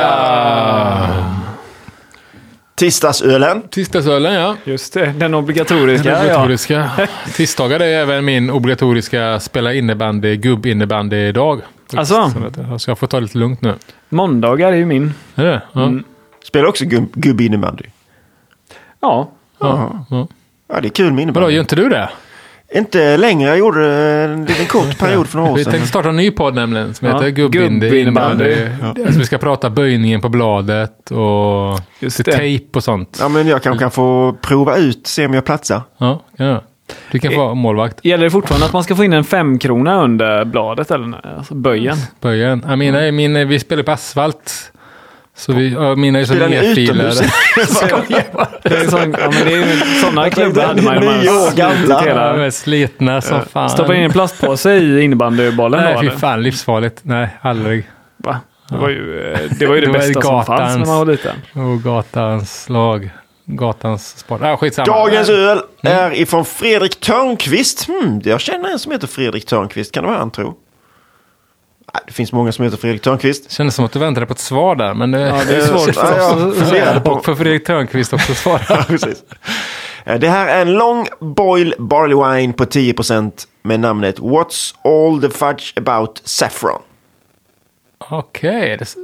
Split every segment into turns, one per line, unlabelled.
Halleluja!
Tisdagsölen.
Tisdagsölen, ja.
Just det, den obligatoriska.
Den
ja.
obligatoriska. Tisdagar är även min obligatoriska spela innebandy, gubbinnebandy-dag.
Alltså?
Så att- Så jag får ta det lite lugnt nu.
Måndagar är ju min.
Är det? Ja.
Spelar också gubb, gubbinnebandy.
Ja,
Ja. Ja.
Ja, det är kul med
Vadå,
innebandy.
gör inte du det?
Inte längre. Jag gjorde en liten kort period för några år
Vi
sedan.
tänkte starta en ny podd nämligen som
Ja,
heter Gubbindy
Gubbinnebandy.
innebandy. Så vi ska prata böjningen på bladet och
Just
lite
det.
tejp och sånt.
Ja, men jag kanske kan få prova ut, se om jag platsar.
Ja, kan jag. Du kan få vara målvakt.
gäller det fortfarande att man ska få in en femkrona under bladet eller nej, alltså böjen?
Böjen. Ja, mina, är- min, är- vi spelar på asfalt. Så vi, ja, mina är som
Spelar ni
nerfilade.
utomhus?
Det är sån, ja, men det är ju sådana klubbar hade man ju. när man
Nio år
slutit
gamla.
Ja, de
hela-
är slitna som fan.
Stoppa in en plastpåse i innebandybollen
Nej,
då
fy
eller?
fan. Livsfarligt. Nej, aldrig.
Va? Det var ju eh, det, var ju det,
Det var
bästa som
gatans.
fanns när man var liten.
Och gatans lag. Gatans sport. Ah, skitsamma.
Dagens öl
Mm.
är ifrån Fredrik Törnqvist. Hmm, jag känner en som heter Fredrik Törnqvist. Kan det vara han, tro? Nej, Det finns många som heter Fredrik Törnqvist.
Kändes som att du väntade på ett svar där, men det,
det är svårt för
Ja,
oss.
jag funderade på-
Och för Fredrik Törnqvist också att
Ja,
svara.
precis. Eh, Det här är en lång boil barley wine på 10% med namnet What's all the fudge about saffron?
Okej. det-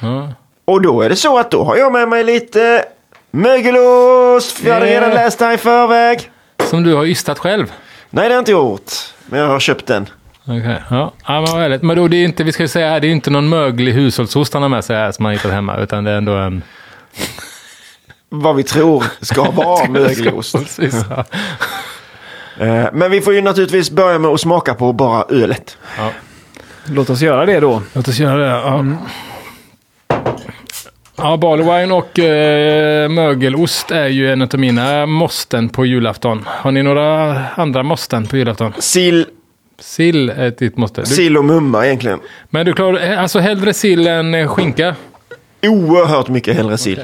Ja.
Och då är det så att då har jag med mig lite mögelost. För jag hade
Yeah.
redan läst det här i förväg.
Som du har ystat själv.
Nej, det har jag inte gjort. Men jag har köpt den.
Okej, ja. ja men vad härligt. Men då, det är inte, vi ska ju säga här, det är inte någon möglig hushållsost han har med sig här som han har hittat hemma, utan det är ändå en...
Vad vi tror ska vara mögelost.
Precis, ja.
Eh, Men vi får ju naturligtvis börja med att smaka på bara ölet.
Låt oss göra det då.
Låt oss göra det. Ja, ja barley wine och eh, mögelost är ju en av mina måsten på julafton. Har ni några andra måsten på julafton?
Sill,
Sill är ett ditt måste. Du,
sill och mumma egentligen.
men du klarar eh, alltså hellre sill än eh, skinka.
Oerhört mycket hellre sill.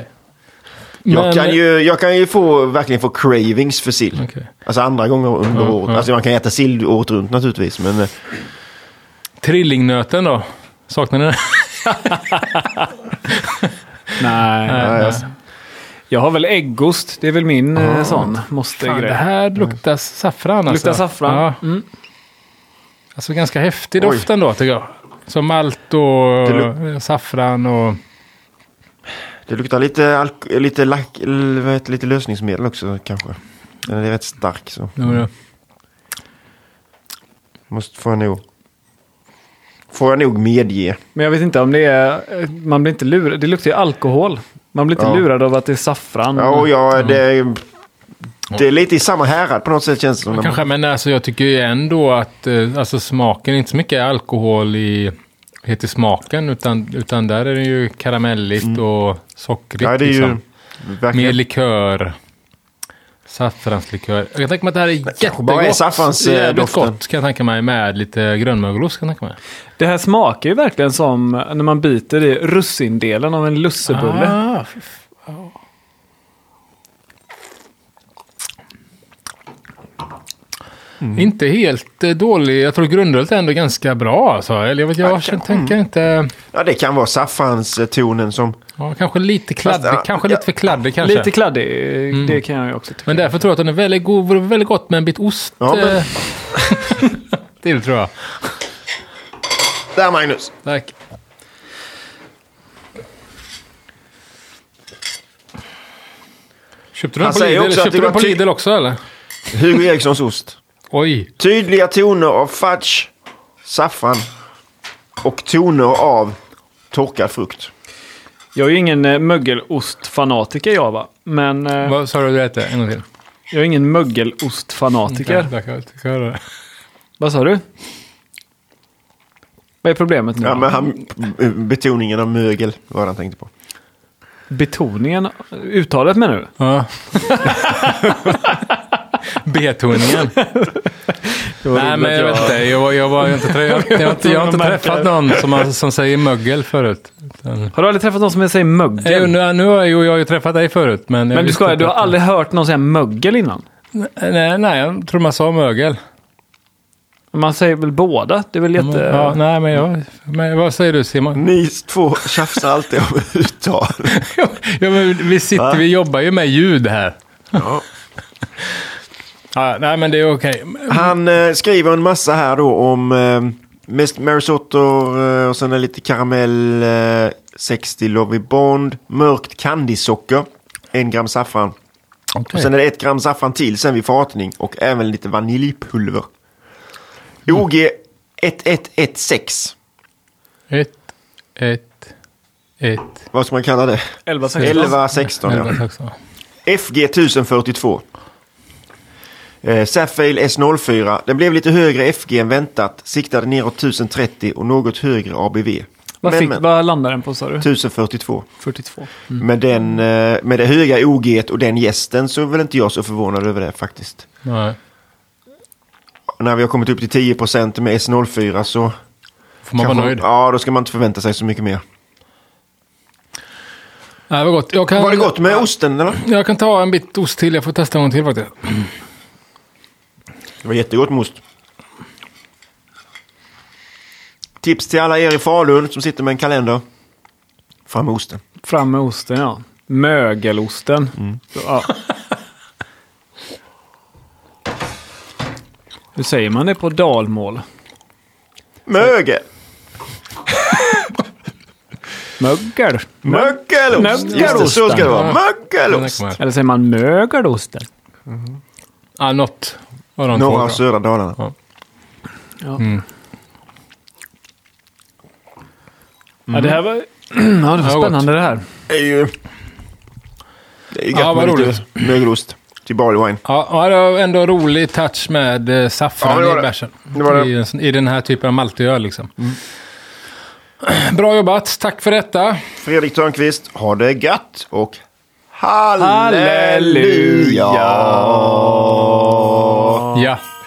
Jag,
Men-
kan ju, jag kan ju få, verkligen få cravings för sill.
Okej.
Alltså andra gånger under
Ja,
året.
ja.
Alltså man kan äta sill året runt naturligtvis. Men eh,
Trillingnöten då? Saknar ni den?
Nej.
Nej. alltså.
Jag har väl äggost. Det är väl min eh, sån
Fan, det
måste-grej.
här
Mm.
luktar saffran alltså.
Luktar saffran.
Ja. Alltså ganska häftig
Oj.
doft ändå tycker jag. Som malt och
Det luk-
eh, saffran och...
det luktar lite, alk- lite, lack- l- vad heter, lite lösningsmedel också kanske. Den är rätt stark så. Måste, får jag nog. Får jag nog medge.
Men jag vet inte om det är... eh, Man blir inte lurad. Det luktar ju alkohol. Man blir inte
Ja.
lurad av att det är saffran.
Ja, och jag,
Mm.
det, det är lite i samma härad på något sätt känns det som. när man-
Kanske, men alltså, jag tycker ju ändå att eh, alltså, smaken, inte så mycket alkohol i, heter smaken, utan, utan där är det ju karamelligt och sockrigt.
Mm. Ja, det är ju
liksom. Mer
verkligen.
likör. Saffranslikör. Jag kan tänka mig att det här är jättegott.
bara är saffrans, eh,
Jävligt
doften.
gott kan jag tänka mig med lite grönmögelost. Kan jag tänka mig.
Det här smakar ju verkligen som när man biter i russindelen av en lussebulle.
Ah,
Mm.
Inte helt eh, dålig. Jag tror grundölet är ändå ganska bra. Alltså. Eller jag, vet, jag känner- tänker
Mm.
inte...
Ja, det kan vara saffranstonen som...
Ja, kanske lite kladdig.
Fast, ja,
kanske
ja.
lite för kladdig kanske. Mm.
Lite kladdig. eh, Det kan jag ju också tycka.
men därför tror jag att den är väldigt god. Vore väldigt gott med en bit ost.
Ja, men-
eh, till tror jag.
Där Magnus!
Tack. Köpte du den
Han
på
säger
Lidl?
också att
Köpte
det
du den
var
på
ty-
Lidl också eller?
Hugo Erikssons ost.
Oj.
Tydliga toner av fudge, saffran och toner av torkad frukt.
Jag är ju ingen eh, mögelostfanatiker jag va. Men eh,
Vad sa du du hette? En gång till.
jag är ingen mögelostfanatiker.
Ja, där kan jag tycka jag det.
Vad sa du? Vad är problemet nu?
Ja, men han, betoningen av mögel var det han tänkte på.
Betoningen? Uttalet med nu?
Ja. Betoningen. Nej, men jag vet inte. Jag, var, jag, var, jag, har inte, trä- jag, jag, har inte- jag har inte träffat någon som, har, som säger mögel förut. Utan-
Har du aldrig träffat någon som säger
Eh,
mögel?
Nu, nu har jag, jo, jag har ju träffat dig förut. Men, jag
Men du
visste
skojar,
inte
du har
att-
aldrig hört någon säga mögel innan?
Mm. Nej, nej, jag tror man sa mögel.
Man säger väl båda? Det är väl jätte...
Ja, eh, nej, men, jag, men vad säger du Simon?
Ni två tjafsar alltid om uttal.
ja, men vi, sitter,
Va?
vi jobbar ju med ljud här. Ja, nej, men det är okej.
Han eh, skriver en massa här då om eh, mest marisottor eh, och sen är lite karamell, eh, 60 Lovey Bond, mörkt kandisocker, en gram saffran. Och
Okej.
sen är det ett gram saffran till sen vid fatning och även lite vaniljpulver. OG 1116.
Ett, ett, ett.
Vad ska man kalla det?
11 16.
1116 ja.
elva, sex, ja.
FG 1042. Eh, Saffail S04. Den blev lite högre FG än väntat. Siktade neråt 1030 och något högre ABV.
Vad,
men,
fick,
men,
vad Mm. landade den på sa du?
1042.
42.
Med, den, eh, med det höga OG och den gästen så är väl inte jag så förvånad över det faktiskt.
Nej.
När vi har kommit upp till 10% med S04 så...
Får man
kanske-
vara nöjd?
Ja, då ska man inte förvänta sig så mycket mer.
Nej, vad gott. Jag kan,
Var det gott med osten eller?
Jag kan ta en bit ost till. Jag får testa någon till faktiskt.
Det var jättegott med ost. Tips till alla er i Falun som sitter med en kalender. Fram med osten.
Fram med osten ja. Mögelosten. Så, ja. Hur säger man det på dalmål?
Möge!
Mögel.
Mögelost!
Mögelosten.
Just det, så ska det vara.
Ja.
Mögelost!
Den här kommer
Eller säger man mögelosten?
här. Ja, något av de
Norra och
två. bra.
södra Dalarna.
Ja. ja, det här var, Mm. ja, det var
Ja, gott.
spännande det här.
Det är ju... Det är ju gött
Ja, vad
med lite
roligt.
mögelost till barley wine.
Ja, ja, det var ändå en rolig touch med eh,
Ja,
saffran
det var
i
det.
bärsen.
Det var det.
I, en sån- I den här typen av maltöl liksom.
Mm.
Bra jobbat. Tack för detta.
Fredrik Törnqvist, ha det gött och halleluja!
Halleluja!
Ja.